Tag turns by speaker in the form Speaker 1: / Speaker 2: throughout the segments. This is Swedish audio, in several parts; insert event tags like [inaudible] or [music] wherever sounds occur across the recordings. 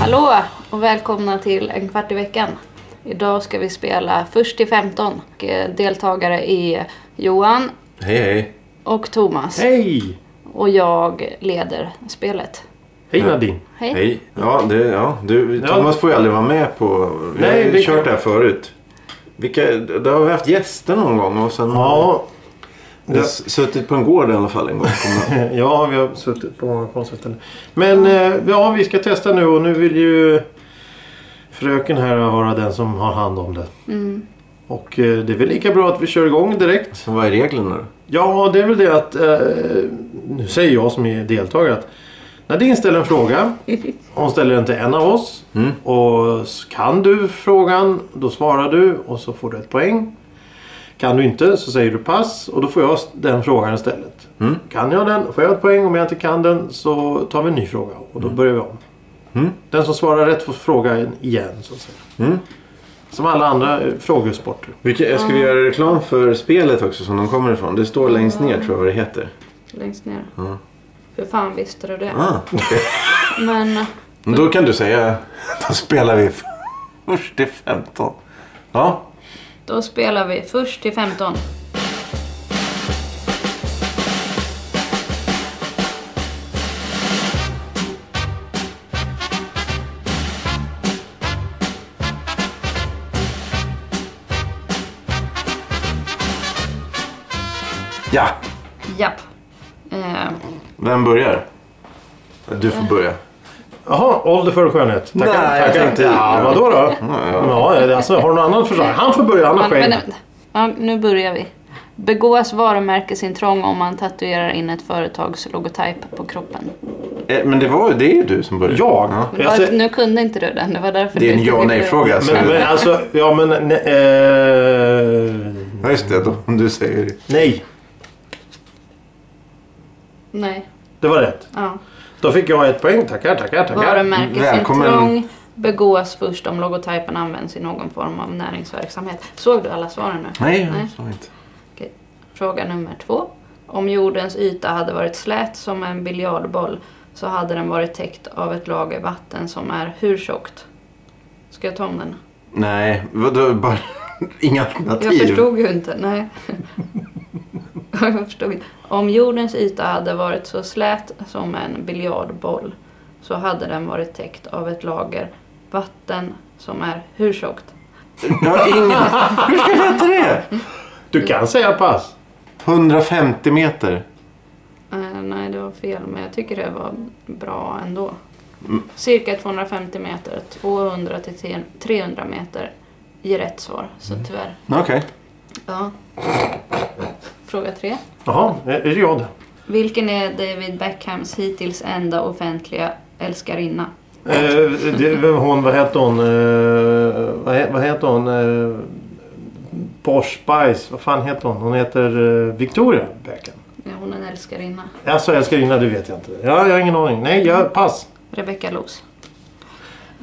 Speaker 1: Hallå och välkomna till En kvart i veckan. Idag ska vi spela först till 15. Och, eh, Deltagare är Johan
Speaker 2: Hej hej!
Speaker 1: och Thomas.
Speaker 3: Hej!
Speaker 1: Och jag leder spelet.
Speaker 3: Hej Nadine!
Speaker 1: Hej.
Speaker 2: Hej! Ja, det, ja du,
Speaker 3: Ja.
Speaker 2: Thomas får ju aldrig vara med på... Vi
Speaker 3: Nej,
Speaker 2: har ju
Speaker 3: det-
Speaker 2: kört det här förut. Vilka, då har vi haft gäster någon gång och sen...
Speaker 3: Ja,
Speaker 2: Vi har s- suttit på en gård i alla fall en gång. kommer jag ihåg.
Speaker 3: ja, vi har suttit på många konstiga ställen. Men eh, ja, vi ska testa nu och nu vill ju fröken här vara den som har hand om det. Och eh, det är väl lika bra att vi kör igång direkt.
Speaker 2: Så vad är reglerna då?
Speaker 3: Ja, det är väl det att... Eh, nu säger jag som är deltagare att Nadine ställer en fråga. Hon ställer den till en av oss.
Speaker 2: Mm.
Speaker 3: Och s- kan du frågan, då svarar du och så får du ett poäng. Kan du inte så säger du pass och då får jag s- den frågan istället.
Speaker 2: Mm.
Speaker 3: Kan jag den får jag ett poäng. Om jag inte kan den så tar vi en ny fråga och då börjar vi om.
Speaker 2: Mm.
Speaker 3: Den som svarar rätt får fråga igen. Så att säga.
Speaker 2: Mm.
Speaker 3: Som alla andra eh, frågesporter.
Speaker 2: Vilka, jag ska vi göra reklam för spelet också som de kommer ifrån? Det står längst ner tror jag vad det heter.
Speaker 1: Längst ner.
Speaker 2: Ja.
Speaker 1: Hur fan visste du det?
Speaker 2: Ah, okej.
Speaker 1: Men eh,
Speaker 2: Men Då kan du säga... [laughs] Då spelar vi först till 15. Ja.
Speaker 1: då spelar vi först till 15.
Speaker 2: Ja!
Speaker 1: Japp. Eh,
Speaker 2: Vem börjar? Du får börja.
Speaker 3: Jaha, ålder före skönhet. Tackar.
Speaker 2: Nej, jag
Speaker 3: tackar.
Speaker 2: tänkte-
Speaker 3: Ja, vadå då? Ja, alltså, har du någon annan förslag? Han får börja, han har
Speaker 1: men,
Speaker 3: skägg.
Speaker 1: men, ja, nu börjar vi. Begås varumärkesintrång om man tatuerar in ett företags logotyp på kroppen?
Speaker 2: Eh, Men det, var, det är ju du som började.
Speaker 3: Jag?
Speaker 2: Ja.
Speaker 3: Jag ser-
Speaker 1: Nu kunde inte du den. Det var därför
Speaker 2: Det är
Speaker 1: du
Speaker 2: en
Speaker 1: inte
Speaker 2: ja och
Speaker 1: ville-
Speaker 2: nej-fråga. så-
Speaker 3: Men, men alltså, ja men... Ne, eh,
Speaker 2: Ja, just det. Då, om du säger det.
Speaker 3: nej,
Speaker 1: Nej.
Speaker 3: det var rätt.
Speaker 1: Ja.
Speaker 3: Då fick jag ett poäng. Tackar, tackar, tackar.
Speaker 2: Välkommen.
Speaker 1: Varumärkesintrång begås först om logotypen används i någon form av näringsverksamhet. Såg du alla svaren nu?
Speaker 2: Nej, jag sa inte.
Speaker 1: Fråga nummer två. Om jordens yta hade varit slät som en biljardboll så hade den varit täckt av ett lager vatten som är hur tjockt? Ska jag ta om den?
Speaker 2: Nej, vadå? Bara, [laughs] inga alternativ?
Speaker 1: Jag förstod ju inte. Nej. [laughs] jag förstod inte. Om jordens yta hade varit så slät som en biljardboll så hade den varit täckt av ett lager vatten som är hur tjockt?
Speaker 2: Jag har ingen... Hur ska jag veta det?
Speaker 3: Du kan säga pass.
Speaker 2: 150 meter.
Speaker 1: Eh, nej, det var fel, men jag tycker det var bra ändå. Cirka 250 meter, 200 till 300 meter ger rätt svar, så tyvärr.
Speaker 2: Okej.
Speaker 1: Ja. Fråga tre.
Speaker 3: Jaha, är är det jag det?
Speaker 1: Vilken är David Beckhams hittills enda offentliga älskarinna?
Speaker 3: Eh, det vem hon, vad hette hon? Eh, vad, he, vad heter hon? Eh, Posh Spice, vad fan heter hon? Hon heter eh, Victoria Beckham.
Speaker 1: Ja, hon är en älskarinna.
Speaker 3: Alltså älskarinna, det vet jag inte. Ja, jag har ingen aning. Nej, jag, pass.
Speaker 1: Rebecca Loos.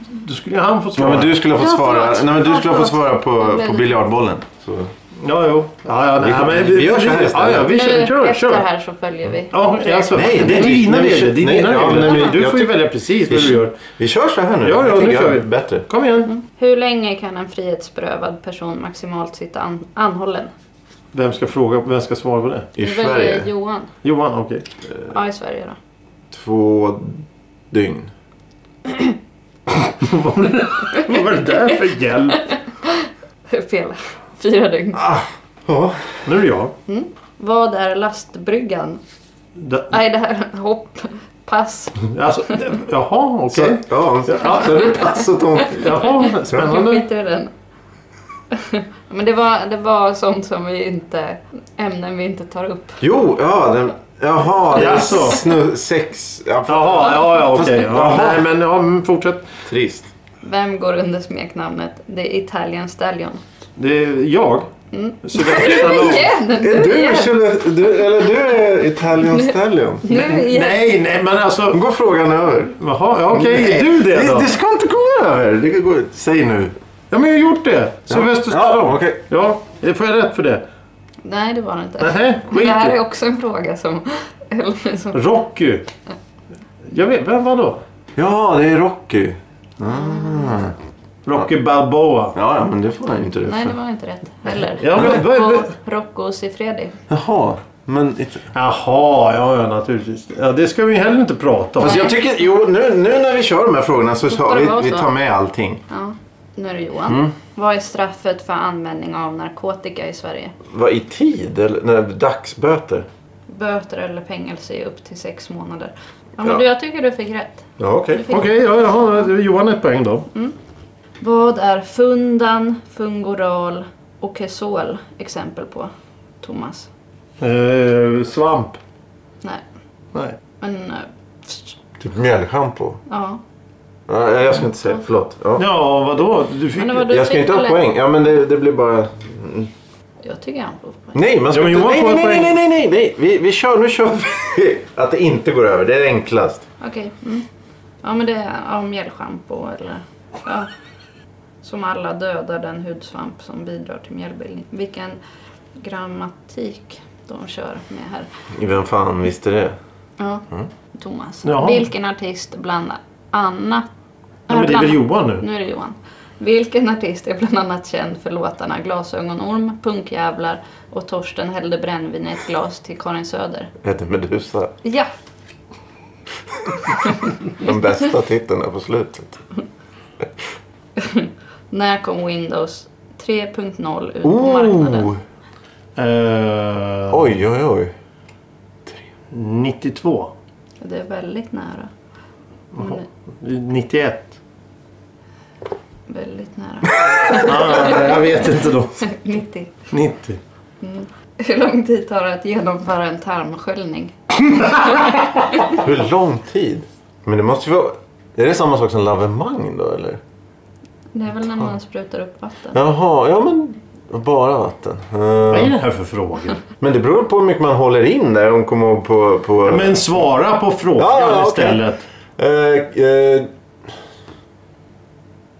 Speaker 3: Då skulle ju han fått
Speaker 2: Ja,
Speaker 3: svara.
Speaker 2: men du skulle ha fått
Speaker 1: Ja,
Speaker 2: svara,
Speaker 1: förlåt.
Speaker 2: nej, men du
Speaker 1: Ja,
Speaker 2: skulle ha fått
Speaker 1: förlåt.
Speaker 2: svara
Speaker 1: Jag
Speaker 2: på,
Speaker 1: blev-
Speaker 2: på biljardbollen. Så.
Speaker 3: Ja, jo. Ja, ja, nej,
Speaker 2: Vi-
Speaker 3: men
Speaker 2: vi gör så här
Speaker 3: Ja, ja, vi
Speaker 1: Nu
Speaker 3: kör. kör,
Speaker 1: efter
Speaker 3: kör.
Speaker 1: här så följer vi.
Speaker 3: Ja, alltså,
Speaker 2: Nej, det är dina
Speaker 3: dina regler.
Speaker 2: regler.
Speaker 3: Det är
Speaker 2: Nej,
Speaker 3: dina
Speaker 2: ja,
Speaker 3: regler.
Speaker 2: nej, men
Speaker 3: du
Speaker 2: jag
Speaker 3: får ju
Speaker 2: ty-
Speaker 3: välja precis vad
Speaker 2: Vi,
Speaker 3: du gör.
Speaker 2: vi kör så här nu.
Speaker 3: Ja, ja,
Speaker 2: Jag
Speaker 3: nu
Speaker 2: tycker
Speaker 3: kör
Speaker 2: jag
Speaker 3: vi.
Speaker 2: är Bättre.
Speaker 3: Kom igen.
Speaker 1: Hur länge kan en frihetsberövad person maximalt sitta an- anhållen?
Speaker 3: Vem ska fråga? Vem ska svara på det?
Speaker 2: I
Speaker 1: Nu väljer
Speaker 2: Sverige,
Speaker 1: Johan.
Speaker 3: Johan, okej. [laughs]
Speaker 1: Ja, i Sverige då.
Speaker 2: två dygn.
Speaker 3: Vad var det där för hjälp?
Speaker 1: [laughs] Fel. Fyra dygn.
Speaker 3: Ah. Ja, nu är det jag.
Speaker 1: Vad är lastbryggan?
Speaker 3: Da-
Speaker 1: Nej, det här hopp. Pass.
Speaker 3: Alltså, det- jaha, okej.
Speaker 2: Så, ja, så,
Speaker 3: Ja.
Speaker 2: så det [laughs] passat om.
Speaker 3: Jaha,
Speaker 1: Jag
Speaker 3: spännande.
Speaker 1: skiter i den. [laughs] Men det var, det var sånt som vi inte... Ämnen vi inte tar upp.
Speaker 2: Jo, ja, den, jaha, det är
Speaker 3: Jaså.
Speaker 2: snu, sex. Ja, fan,
Speaker 3: Jaha, ja, ja, okej. Ja,
Speaker 2: Jaha.
Speaker 3: nej, men ja, men fortsätt.
Speaker 2: trist.
Speaker 3: Oh.
Speaker 1: Vem går under smeknamnet The Italian Stallion?
Speaker 3: Det är jag.
Speaker 1: Mm. [laughs]
Speaker 3: Sylvester
Speaker 1: Igen!
Speaker 2: Är
Speaker 1: Nu
Speaker 2: du,
Speaker 1: igen!
Speaker 2: Chile- du, eller du är Italian Stallion?
Speaker 1: Nu igen!
Speaker 3: Nej, nej, men alltså...
Speaker 2: Då går frågan över.
Speaker 3: Jaha, ja, okej.
Speaker 2: Nej,
Speaker 3: Är du det då?
Speaker 2: Det ska inte gå över. Det kan gå, säg nu.
Speaker 3: Ja, men jag har gjort det. Sylvester
Speaker 2: Ja,
Speaker 3: Stallone.
Speaker 2: okej.
Speaker 3: Ja, eh, får jag rätt för det?
Speaker 1: Nej, det var det inte.
Speaker 3: Nej, skit
Speaker 1: Det här
Speaker 3: i.
Speaker 1: är också en fråga som... eller som
Speaker 3: Rocky. Jag vet, vem var då?
Speaker 2: Ja, det är Rocky. Ah.
Speaker 3: Rocky Balboa.
Speaker 2: Ja, ja, men det får han ju inte det
Speaker 1: Nej, det
Speaker 2: för.
Speaker 1: var inte rätt heller.
Speaker 3: Ja, men-
Speaker 1: Rocco, Rocco Siffredi.
Speaker 2: Jaha. Men it-
Speaker 3: Jaha, ja, ja naturligtvis. Ja, det ska vi heller inte prata om.
Speaker 2: Fast jag tycker, jo nu, nu när vi kör de här frågorna så
Speaker 1: ska
Speaker 2: tar
Speaker 1: det vara
Speaker 2: vi, vi
Speaker 1: så.
Speaker 2: tar med allting.
Speaker 1: Ja, nu är det Johan.
Speaker 3: Mm.
Speaker 1: Vad är straffet för användning av narkotika i Sverige?
Speaker 2: Vad i tid? Eller nej, dagsböter?
Speaker 1: Böter eller fängelse i upp till sex månader. Ja, men
Speaker 2: Ja.
Speaker 1: du, jag tycker du fick rätt.
Speaker 2: Ja, okej.
Speaker 1: Du fick
Speaker 3: Okej, ja, jaha, Johan ett poäng då.
Speaker 1: Vad är fundan, fungoral och kesol exempel på? Thomas?
Speaker 3: Eh, svamp.
Speaker 1: Nej,
Speaker 3: Nej.
Speaker 1: men... eh, pst,
Speaker 2: Typ mjällschampo.
Speaker 1: Ja.
Speaker 2: Ja, jag ska inte säga, förlåt. Ja.
Speaker 3: Ja, vadå? Du fick...
Speaker 1: Men det var du
Speaker 2: Jag ska
Speaker 1: fick
Speaker 2: inte ha
Speaker 1: väl-
Speaker 2: poäng. Ja, men det, det blir bara...
Speaker 1: Jag tycker han får poäng.
Speaker 2: Nej, man ska
Speaker 3: Ja, men
Speaker 2: inte...
Speaker 3: Johan
Speaker 2: Nej,
Speaker 3: får
Speaker 2: nej, nej,
Speaker 3: poäng.
Speaker 2: nej, nej, nej, nej. Vi, vi kör, nu kör vi. [laughs] Att det inte går över, det är enklast.
Speaker 1: Okej. Mm. Ja, men det är ja, mjällschampo eller... Ja. Som alla dödar den hudsvamp som bidrar till mjällbildning. Vilken grammatik de kör med här.
Speaker 2: Vem fan visste det?
Speaker 1: Ja. Thomas.
Speaker 3: Mm. Jaha.
Speaker 1: Vilken artist bland annat...
Speaker 3: Ja, men det är väl Johan nu?
Speaker 1: Nu är det Johan. Vilken artist är bland annat känd för låtarna Glasögonorm, Punkjävlar och Torsten hällde brännvin i ett glas till Karin Söder?
Speaker 2: Hette Medusa.
Speaker 1: Ja!
Speaker 2: Den bästa titeln är på slutet.
Speaker 1: När kom Windows 3.0 ut på marknaden?
Speaker 2: Oh!
Speaker 3: Eh,
Speaker 2: Oj, oj, oj.
Speaker 3: 92.
Speaker 1: Det är väldigt nära. Men
Speaker 3: 91.
Speaker 1: väldigt nära.
Speaker 3: ah, jag vet inte då.
Speaker 1: 90.
Speaker 3: 90.
Speaker 1: Hur lång tid tar det att genomföra en tarmsköljning?
Speaker 2: Hur lång tid? Men det måste ju vara... Är det samma sak som lavemang då, eller?
Speaker 1: Det är väl när man sprutar upp vatten.
Speaker 2: Jaha, ja men... Bara vatten. Eh,
Speaker 3: Vad är det här för frågor?
Speaker 2: Men det beror på hur mycket man håller in där. Om kommer ihåg på... på...
Speaker 3: Men svara på frågan
Speaker 2: Ja, ja, okej.
Speaker 3: istället.
Speaker 2: Eh, eh...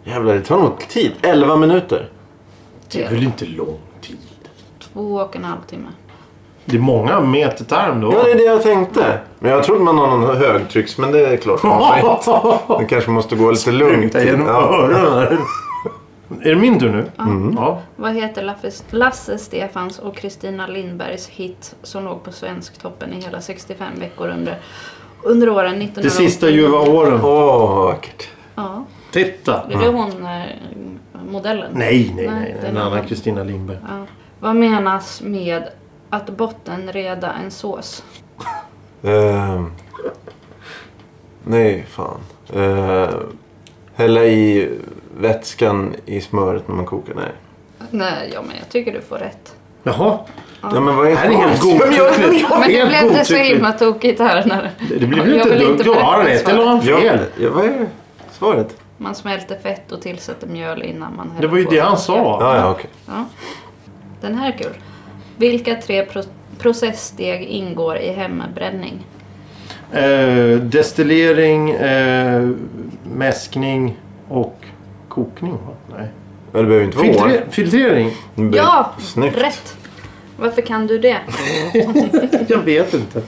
Speaker 2: Jävlar, det tar nog tid. 11 minuter.
Speaker 1: Det är
Speaker 3: väl inte lång tid?
Speaker 1: två och en halv timme.
Speaker 3: Det är många meter tarm då.
Speaker 2: Ja, det är det jag tänkte. Men jag trodde man har någon högtrycks, men det är klart. Man det kanske måste gå lite lugnt.
Speaker 3: Titta [laughs] genom
Speaker 2: Ja.
Speaker 3: öronen. Är det min tur nu? Mm. Ja.
Speaker 1: Vad heter Lasse- Lasse Stefans och Kristina Lindbergs hit som låg på Svensktoppen i hela 65 veckor under, under åren 1989?
Speaker 3: Det sista ljuva åren.
Speaker 2: Åh, vad vackert.
Speaker 1: Ja.
Speaker 3: Titta!
Speaker 1: Det är hon, eh, modellen.
Speaker 3: Nej, nej,
Speaker 1: Nej,
Speaker 3: nej. nej.
Speaker 1: den
Speaker 3: En
Speaker 1: är
Speaker 3: annan
Speaker 1: den.
Speaker 3: Kristina Lindberg.
Speaker 1: Ja. Vad menas med att bottenreda en sås?
Speaker 2: Ehm. nej, fan. Ehm. hälla i vätskan i smöret när man kokar. Nej.
Speaker 1: Nej, ja, men jag tycker du får rätt.
Speaker 3: Jaha.
Speaker 2: Ja, men vad är
Speaker 3: Det här är helt
Speaker 2: Ja, men jag-
Speaker 3: godtyckligt.
Speaker 1: Men det
Speaker 3: Helt
Speaker 1: blev det så
Speaker 3: godtyckligt.
Speaker 1: himla tokigt här när...
Speaker 3: Det blir
Speaker 1: Jag
Speaker 3: väl inte
Speaker 1: vill
Speaker 3: dumt. Du
Speaker 1: berätta
Speaker 3: har
Speaker 1: mitt
Speaker 3: rätt
Speaker 1: svar.
Speaker 3: eller har han
Speaker 2: Ja,
Speaker 3: fel?
Speaker 2: ja, vad är svaret?
Speaker 1: Man smälter fett och tillsätter mjöl innan man häller
Speaker 3: Det var ju
Speaker 1: på
Speaker 3: det han
Speaker 1: socker.
Speaker 3: sa.
Speaker 2: Ja, ja, okej.
Speaker 1: Ja. Den här är kul. Vilka tre pro- processsteg ingår i hembränning?
Speaker 3: Eh, destillering, eh, mäskning och kokning. Va? Nej.
Speaker 2: Men det behöver inte vara år.
Speaker 3: Filtre- filtrering?
Speaker 2: Det behöver-
Speaker 1: Ja!
Speaker 2: Snyggt.
Speaker 1: Rätt! Varför kan du det?
Speaker 3: Jag vet inte.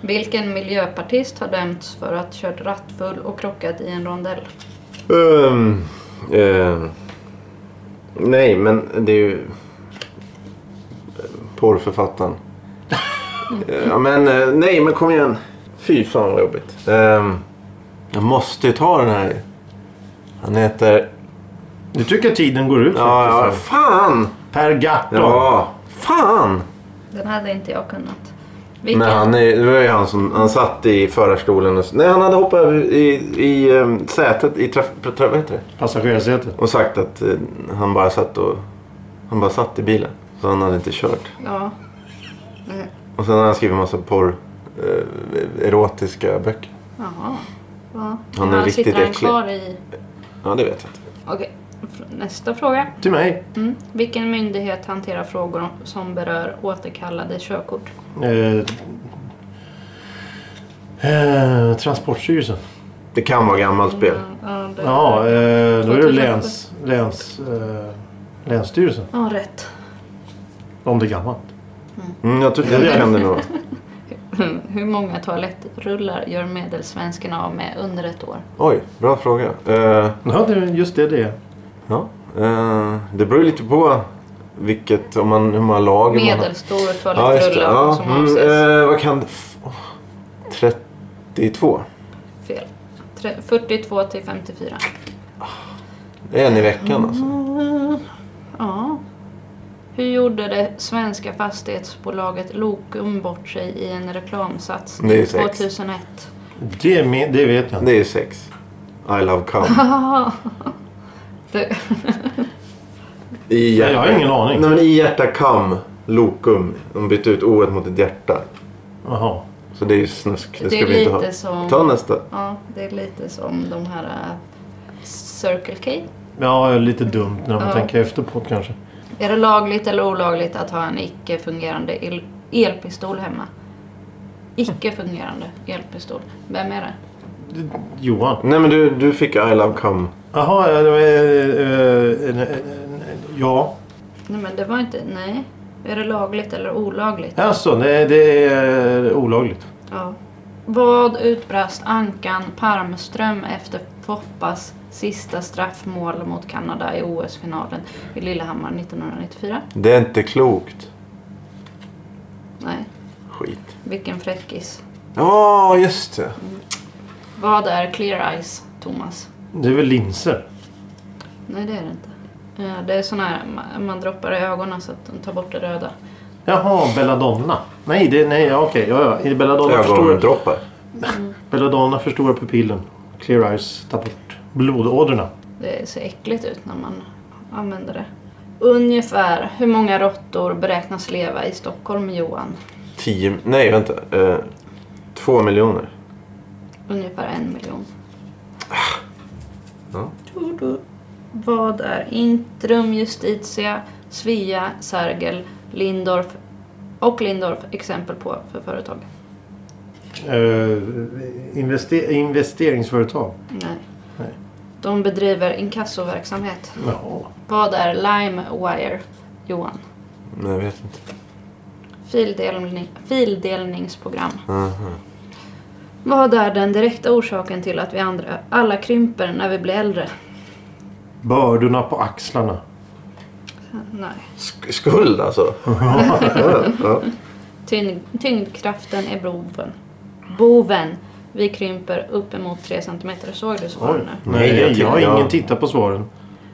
Speaker 1: Vilken miljöpartist har dömts för att kört rattfull och krockat i en rondell?
Speaker 2: Ehm, ehm, nej, men det är ju... eh, Porrförfattaren. ja, men eh, nej, men kom igen. Fy fan vad jobbigt. Ehm, jag måste ju ta den här. Han heter...
Speaker 3: Nu tycker jag tiden går ut
Speaker 2: Ja, ja,
Speaker 3: faktiskt.
Speaker 2: fan!
Speaker 3: Per Gahrton.
Speaker 2: Ja, fan!
Speaker 1: Den hade inte jag kunnat. Vilken?
Speaker 2: Men han är, det var ju han som han satt i förarstolen. Och, nej, han hade hoppat över i, i ehm, sätet i traf, tra, vad heter det?
Speaker 3: Passagerarsätet.
Speaker 2: Och sagt att eh, han bara satt och... Han bara satt i bilen. Så han hade inte kört.
Speaker 1: Ja.
Speaker 2: Och sen har han skrivit en massa porr... Eh, erotiska böcker.
Speaker 1: Jaha. Ja.
Speaker 2: Han är
Speaker 1: Men
Speaker 2: riktigt
Speaker 1: sitter han
Speaker 2: äcklig.
Speaker 1: kvar i...
Speaker 2: Ja, det vet jag inte.
Speaker 1: Okej. Fr- Nästa fråga.
Speaker 3: Till mig.
Speaker 1: Mm. Vilken myndighet hanterar frågor om- som berör återkallade körkort?
Speaker 3: Eh, eh, Transportstyrelsen.
Speaker 2: Det kan vara gammalt spel.
Speaker 1: Mm, Ja, det-
Speaker 3: Ja, eh, då är det
Speaker 1: 2000.
Speaker 3: läns, läns, eh, Länsstyrelsen.
Speaker 1: ja, rätt. [laughs]
Speaker 3: Om det är gammalt.
Speaker 2: Mm, jag tror det kan det nog vara.
Speaker 1: Hur många toalettrullar gör medelsvensken av med under ett år?
Speaker 2: Oj, bra fråga. Eh,
Speaker 3: Ja, det är just det det är.
Speaker 2: ja. eh, det beror ju lite på vilket, om man, hur många lager man har.
Speaker 1: Medelstor
Speaker 2: Ja, just det.
Speaker 1: toalettrulla
Speaker 2: Ja.
Speaker 1: som
Speaker 2: Mm,
Speaker 1: avses.
Speaker 2: eh, vad kan det... f- åh, 32.
Speaker 1: Fel. Tre- 42 till 54.
Speaker 2: Det är en i veckan alltså.
Speaker 1: Ja. Hur gjorde det svenska fastighetsbolaget Lokum bort sig i en
Speaker 2: Det är
Speaker 1: reklamsatsning
Speaker 2: sex.
Speaker 1: 2001?
Speaker 3: Det, är min, det vet jag inte.
Speaker 2: Det är sex. I love cum.
Speaker 1: Det,
Speaker 2: I
Speaker 3: Jag har ingen aning.
Speaker 2: Nej, men i hjärta cum. Lokum. De bytte ut ordet mot ett hjärta.
Speaker 3: Jaha.
Speaker 2: Så det är ju snusk. Det
Speaker 1: det
Speaker 2: ska
Speaker 1: är
Speaker 2: vi inte ha.
Speaker 1: lite som...
Speaker 2: Ta nästa.
Speaker 1: Ja, det är lite som de här äh, Circle K.
Speaker 3: Ja, lite dumt när man
Speaker 1: Ja.
Speaker 3: tänker efter på det kanske.
Speaker 1: Är det lagligt eller olagligt att ha en icke-fungerande el- elpistol hemma? Icke-fungerande elpistol. Vem är det?
Speaker 3: Johan.
Speaker 2: Nej men du, du fick I love cum.
Speaker 3: Jaha, eh, eh, eh, eh, ja.
Speaker 1: Nej, men det var inte... Nej. Är det lagligt eller olagligt?
Speaker 3: Alltså, nej, det är olagligt.
Speaker 1: Ja. Vad utbrast Ankan Parmström efter Foppas sista straffmål mot Kanada i OS-finalen i Lillehammar 1994?
Speaker 2: Det är inte klokt.
Speaker 1: Nej,
Speaker 2: Skit.
Speaker 1: vilken fräckis.
Speaker 2: Ja, just det.
Speaker 1: Vad är clear eyes, Thomas?
Speaker 3: Det är väl linser?
Speaker 1: Nej, det är det inte. Eh, Det är sån här ma- man droppar i ögonen så att de tar bort det röda.
Speaker 3: Jaha, belladonna. Nej, det, nej ja, okej. Ja, ja. Belladonna, förstår,
Speaker 2: Ögondroppar.
Speaker 3: belladonna förstorar pupillen. Clear eyes tar bort blodådrorna.
Speaker 1: Det ser äckligt ut när man använder det. Ungefär hur många råttor beräknas leva i Stockholm, Johan?
Speaker 2: 10... Nej, vänta. Eh, två miljoner.
Speaker 1: Ungefär en miljon.
Speaker 2: Ja.
Speaker 1: Vad är Intrum, Justitia, Svea, Sergel, Lindorf och Lindorf exempel på för företag?
Speaker 3: Eh, investe, investeringsföretag.
Speaker 1: Nej.
Speaker 3: Nej.
Speaker 1: De bedriver inkassoverksamhet.
Speaker 3: Jaha.
Speaker 1: Vad är LimeWire, Johan?
Speaker 2: Nej, jag vet inte.
Speaker 1: Fildelning, fildelningsprogram.
Speaker 2: Aha.
Speaker 1: Vad är den direkta orsaken till att vi andra alla krymper när vi blir äldre?
Speaker 3: Bördorna på axlarna.
Speaker 1: Nej.
Speaker 2: Sk- skuld
Speaker 3: [laughs]
Speaker 2: alltså? ja, ja.
Speaker 1: Tyng, tyngdkraften är boven. Boven. Vi krymper uppemot 3 cm. Såg du svaren nu?
Speaker 3: Nej,
Speaker 2: Nej, jag
Speaker 3: jag, har
Speaker 2: tycker-
Speaker 3: ingen tittat på svaren.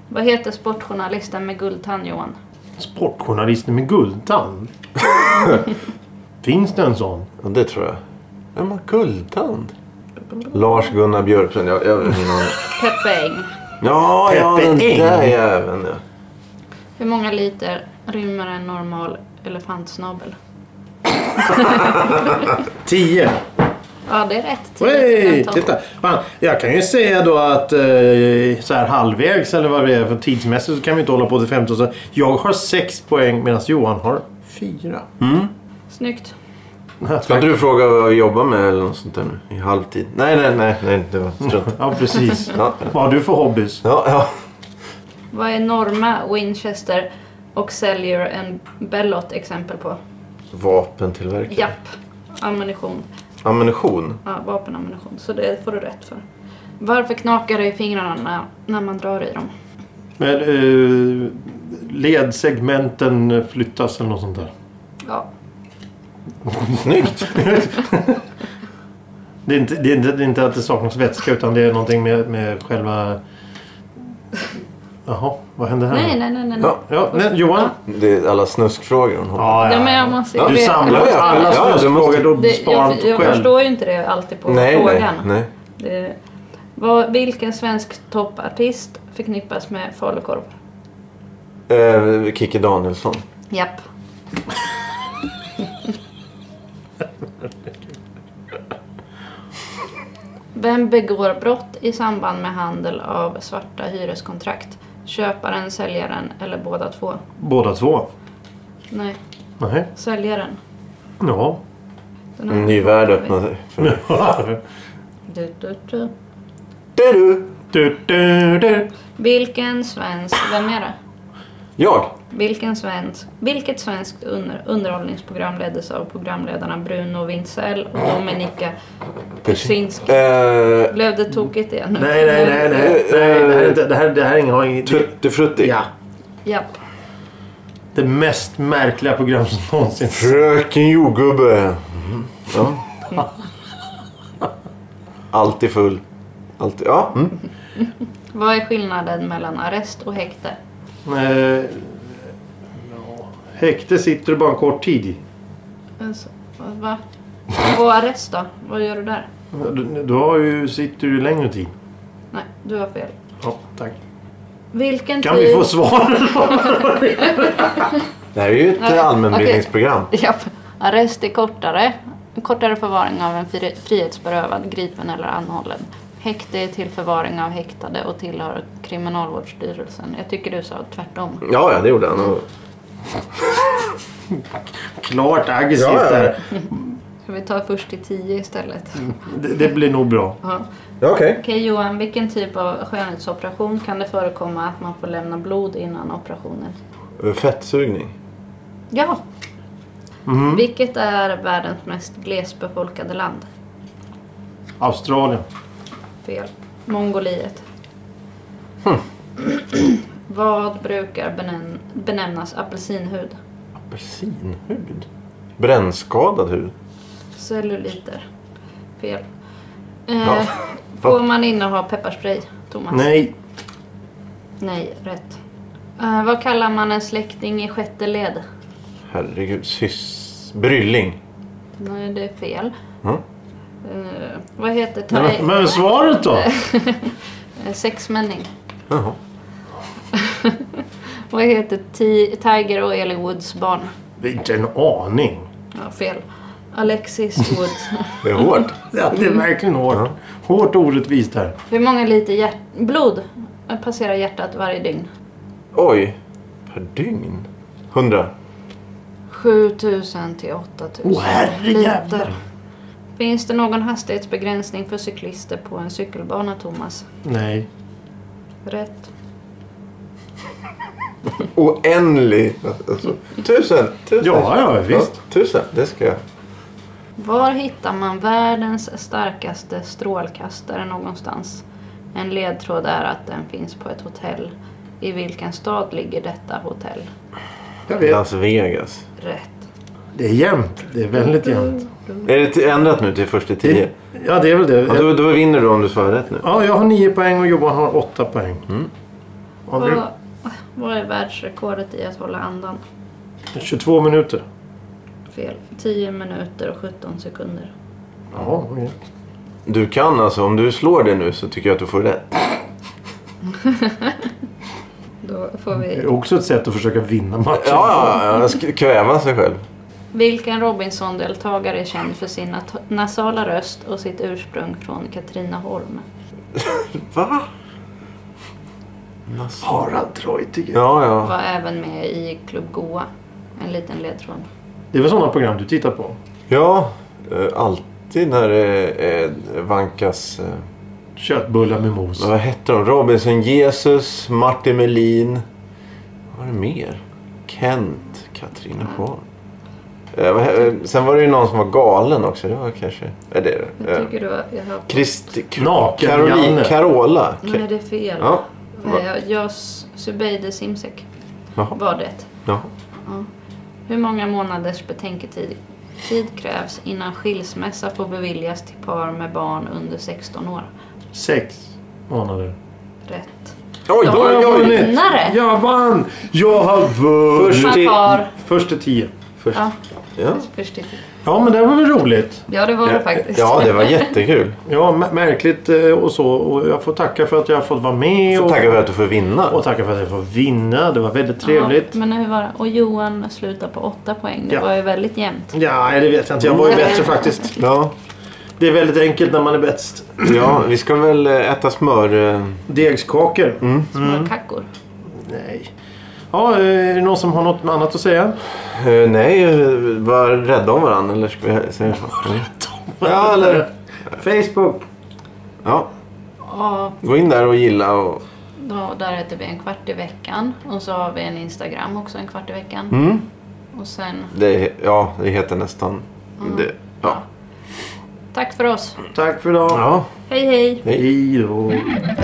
Speaker 1: Vad heter sportjournalisten med guldtand, Johan?
Speaker 3: Sportjournalisten
Speaker 2: [laughs]
Speaker 3: med guldtand? Finns det en sån?
Speaker 2: Ja, det tror jag. Vem har guldtand? Lars-Gunnar Björklund. Jag, jag har ingen aning.
Speaker 1: Peppe Eng.
Speaker 2: Ja, ja,
Speaker 3: Peppe
Speaker 2: den
Speaker 3: Eng.
Speaker 2: där jäveln ja.
Speaker 1: Hur många liter rymmer en normal elefantsnabel?
Speaker 3: Tio.
Speaker 1: Ja, det är rätt. Tio
Speaker 3: Hey,
Speaker 1: till femton.
Speaker 3: titta. Fan, jag kan ju säga då att eh, så här halvvägs eller vad det är för tidsmässigt så kan vi inte hålla på till 15. Så jag har sex poäng medan Johan har fyra.
Speaker 1: Snyggt.
Speaker 2: Ska inte du fråga vad vi jobbar med eller något sånt där nu? I halvtid? Nej, nej, nej. nej det var strunt.
Speaker 3: Ja,
Speaker 1: [laughs]
Speaker 3: precis.
Speaker 2: Ja,
Speaker 3: Vad har du för hobbys?
Speaker 2: ja. ja.
Speaker 1: Vad är Norma, Winchester och Sellier and Bellot exempel på?
Speaker 2: Vapentillverkare.
Speaker 1: Japp. Ammunition.
Speaker 2: Ammunition.
Speaker 1: Ja, vapenammunition. Så det får du rätt för. Varför knakar det i fingrarna när, när man drar i dem?
Speaker 3: Men, eh, ledsegmenten flyttas eller något sånt där.
Speaker 1: Ja,
Speaker 2: Snyggt!
Speaker 3: Det är, inte, det, är inte, det är inte att det saknas vätska utan det är någonting med, med själva... Jaha, vad hände här?
Speaker 1: nej, nej, nej, nej.
Speaker 2: Ja.
Speaker 3: Ja, nej, Johan?
Speaker 2: Det är alla snuskfrågor hon har.
Speaker 3: Ja,
Speaker 1: Ja, men jag måste
Speaker 2: Ja,
Speaker 1: jag
Speaker 3: Du
Speaker 1: vet-
Speaker 3: samlar
Speaker 2: Ja, ja,
Speaker 3: alla
Speaker 2: ja, du måste-
Speaker 3: snusfrågor och
Speaker 1: det,
Speaker 3: sparar dem
Speaker 1: jag, jag
Speaker 3: själv.
Speaker 1: förstår ju inte det alltid på
Speaker 2: nej, nej,
Speaker 1: frågan.
Speaker 2: nej.
Speaker 1: Det, vad, vilken svensk toppartist förknippas med falukorv?
Speaker 2: Eh, Kikki Danielsson.
Speaker 1: Japp. Vem begår brott i samband med handel av svarta hyreskontrakt Köparen, säljaren eller båda två?
Speaker 3: Båda två.
Speaker 1: Nej,
Speaker 3: Nej.
Speaker 1: säljaren.
Speaker 3: Ja. [laughs]
Speaker 1: Den
Speaker 2: En
Speaker 3: Mm.
Speaker 2: ny värld
Speaker 1: har vi.
Speaker 2: öppnar sig för mig.
Speaker 1: Du, du, du.
Speaker 2: Du, du.
Speaker 3: du, du, du.
Speaker 1: Vilken svensk... Vem är det?
Speaker 2: Jag.
Speaker 1: Vilken svensk, vilket svenskt under, underhållningsprogram leddes av programledarna Bruno Wintzell och Dominika Kuczynski?
Speaker 2: Eh,
Speaker 1: Blev det tokigt igen nu?
Speaker 3: Nej, nej, nej. nej. nej det, här är inte, det, här, det här är ingen... har ingen-
Speaker 2: Tutti-frutti.
Speaker 3: Ja.
Speaker 1: Japp.
Speaker 3: Det mest märkliga program som någonsin... [laughs]
Speaker 2: Fröken jordgubbe.
Speaker 3: Mm.
Speaker 2: Mhm. Ja.
Speaker 3: [laughs]
Speaker 2: Alltid full. Alltid. Ja. Mm.
Speaker 1: Vad är skillnaden mellan arrest och häkte?
Speaker 3: Eh, ja. Häkte sitter du bara en kort tid i.
Speaker 1: Alltså, va? Och arrest då? Vad gör du där?
Speaker 3: Du, du har ju, sitter ju längre tid.
Speaker 1: Nej, du har fel.
Speaker 3: Ja, tack.
Speaker 1: Vilken typ-
Speaker 3: Kan
Speaker 1: tid...
Speaker 3: vi
Speaker 1: [laughs]
Speaker 3: få svar? [laughs]
Speaker 2: Det här är ju ett
Speaker 1: Nej,
Speaker 2: eh, allmänbildningsprogram.
Speaker 1: Japp. Arrest är kortare. En kortare förvaring av en fri- frihetsberövad, gripen eller anhållen. Häkte är till förvaring av häktade och tillhör Kriminalvårdsstyrelsen. Jag tycker du sa tvärtom.
Speaker 2: Ja, ja, det gjorde han. Och-
Speaker 3: Klart aggressivt
Speaker 2: Ja, ja.
Speaker 3: där.
Speaker 1: Ska vi ta först till tio istället?
Speaker 3: Det, det blir nog bra.
Speaker 1: Ja.
Speaker 2: Ja, Okej.
Speaker 1: Okej Johan, vilken typ av skönhetsoperation kan det förekomma att man får lämna blod innan operationen?
Speaker 2: Eh, Fettsugning.
Speaker 1: Ja!
Speaker 3: Mhm.
Speaker 1: Vilket är världens mest glesbefolkade land?
Speaker 3: Australien.
Speaker 1: Fel. Mongoliet.
Speaker 3: Hm.
Speaker 1: [clears throat] Vad brukar benämn- benämnas apelsinhud?
Speaker 2: Apelsinhud? Brännskadad hud?
Speaker 1: Celluliter. Fel.
Speaker 2: Ja.
Speaker 1: Eh, får man inneha pepparspray, Thomas?
Speaker 3: Nej.
Speaker 1: Nej, rätt. Eh, vad kallar man en släkting i sjätte led?
Speaker 2: Herregud. Sys... Brylling.
Speaker 1: Nej, det är fel.
Speaker 2: Mm.
Speaker 1: Eh, vad heter
Speaker 3: Men,
Speaker 1: thai-
Speaker 3: men svaret då?
Speaker 1: eh, sexmänning?
Speaker 2: Jaha.
Speaker 1: Vad heter ti- Tiger och Eli Woods barn?
Speaker 3: Inte en aning.
Speaker 1: Ja, fel. Alexis Woods.
Speaker 2: Det är hårt.
Speaker 3: Ja, det är verkligen hårt. Hårt och orättvist här.
Speaker 1: Hur många liter hjärt- blod passerar hjärtat varje dygn?
Speaker 2: Oj. Per dygn? Hundra.
Speaker 1: 7000 till 8000
Speaker 3: Åh, herrejävlar.
Speaker 1: liter. Finns det någon hastighetsbegränsning för cyklister på en cykelbana, Thomas?
Speaker 3: Nej.
Speaker 1: Rätt.
Speaker 2: Oändlig. Alltså, tusen. tusen.
Speaker 3: Ja, ja, visst.
Speaker 2: tusen. Det ska jag.
Speaker 1: Var hittar man världens starkaste strålkastare någonstans? En ledtråd är att den finns på ett hotell. I vilken stad ligger detta hotell?
Speaker 3: Jag vet.
Speaker 2: Las Vegas.
Speaker 1: Rätt.
Speaker 3: Det är jämnt. Det är väldigt jämnt.
Speaker 2: Är det till- ändrat nu till första tio?
Speaker 3: Ja, det är väl
Speaker 2: Ja,
Speaker 3: det.
Speaker 2: då, då vinner du om du svarar rätt nu.
Speaker 3: Ja, jag har nio poäng och Johan har åtta poäng.
Speaker 2: Mm.
Speaker 3: Ja,
Speaker 1: Vad,
Speaker 3: det
Speaker 1: vad är världsrekordet i att hålla andan?
Speaker 3: är 22 minuter.
Speaker 1: Fel. 10 minuter och 17 sekunder.
Speaker 3: Ja, okej.
Speaker 2: Du kan alltså, om du slår det nu så tycker jag att du får rätt.
Speaker 1: Då får
Speaker 3: det
Speaker 1: vi...
Speaker 3: är också ett sätt att försöka vinna matchen.
Speaker 2: Ja, [laughs] ja, ja. Jag ska kväva sig själv.
Speaker 1: Vilken Robinson-deltagare är känd för sin nat- nasala röst och sitt ursprung från Katrineholm?
Speaker 2: Va?
Speaker 3: Harald Treutiger.
Speaker 2: Ja, ja.
Speaker 1: Var även med i Club Goa. En liten ledtråd.
Speaker 3: Det är väl sådana program du tittar på?
Speaker 2: Ja, eh, alltid när det eh, vankas... eh,
Speaker 3: Köttbullar med mos.
Speaker 2: Vad hette de? Robinson Jesus, Martin Melin. Vad var det mer? Kent, Katrineholm. Eh, vad he- eh, Sen var det ju någon som var galen också. Det var kanske... Är det är det?
Speaker 1: Jag
Speaker 2: Eh,
Speaker 1: tycker du har- jag har...
Speaker 2: Kristi...
Speaker 3: Naken-Janne.
Speaker 2: Caroline. Carola. Ka-
Speaker 1: Nej, det är fel.
Speaker 2: Ja. Va-
Speaker 1: Eh, Jag... Subeide Simsek
Speaker 2: Jaha.
Speaker 1: var det.
Speaker 2: Ja.
Speaker 1: Hur många månaders betänketid tid krävs innan skilsmässa får beviljas till par med barn under 16 år?
Speaker 3: Sex månader.
Speaker 1: Rätt.
Speaker 2: Oj,
Speaker 1: Ja,
Speaker 2: oj,
Speaker 1: jag
Speaker 2: oj!
Speaker 1: vunnit. Vinnare!
Speaker 3: Jag vann! Jag har vunnit!
Speaker 2: Först
Speaker 1: Man
Speaker 2: i-
Speaker 1: har...
Speaker 3: Första tio.
Speaker 2: Först.
Speaker 1: Ja,
Speaker 2: Ja.
Speaker 1: först i-
Speaker 3: Ja, men det var väl roligt?
Speaker 1: Ja, det var det
Speaker 2: Ja,
Speaker 1: faktiskt.
Speaker 2: ja, det var jättekul.
Speaker 3: Ja, mä- märkligt eh, och så. Och jag får tacka för att jag har fått vara med.
Speaker 2: Så
Speaker 3: Och,
Speaker 2: tackar för att du får vinna.
Speaker 3: och tacka för att jag får vinna. Det var väldigt trevligt.
Speaker 1: [laughs] Ja, men hur var det? Och Johan slutar på åtta poäng. Det
Speaker 3: Ja.
Speaker 1: var ju väldigt jämnt.
Speaker 3: Ja, det vet jag inte. Jag var ju bättre faktiskt.
Speaker 2: Ja,
Speaker 3: Det är väldigt enkelt när man är bäst.
Speaker 2: ja vi ska väl eh, äta smör... eh,
Speaker 3: Degskakor.
Speaker 2: Mm.
Speaker 1: Smörkackor.
Speaker 3: Ja, eh, är det någon som har något annat att säga?
Speaker 2: Eh, nej, eh, var rädda om varandra. Eller ska vi säga så? Mm. Ja, eller...
Speaker 3: Facebook.
Speaker 2: Ja,
Speaker 1: Ja,
Speaker 2: gå in där och gilla och...
Speaker 1: då, där äter vi en kvart i veckan. Och så har vi en Instagram också en kvart i veckan.
Speaker 2: Mm.
Speaker 1: Och sen,
Speaker 2: Det, är- ja, det heter nästan... Det, ja.
Speaker 1: tack för oss.
Speaker 3: Tack för idag.
Speaker 2: ja.
Speaker 1: Hej hej!
Speaker 3: Hej då.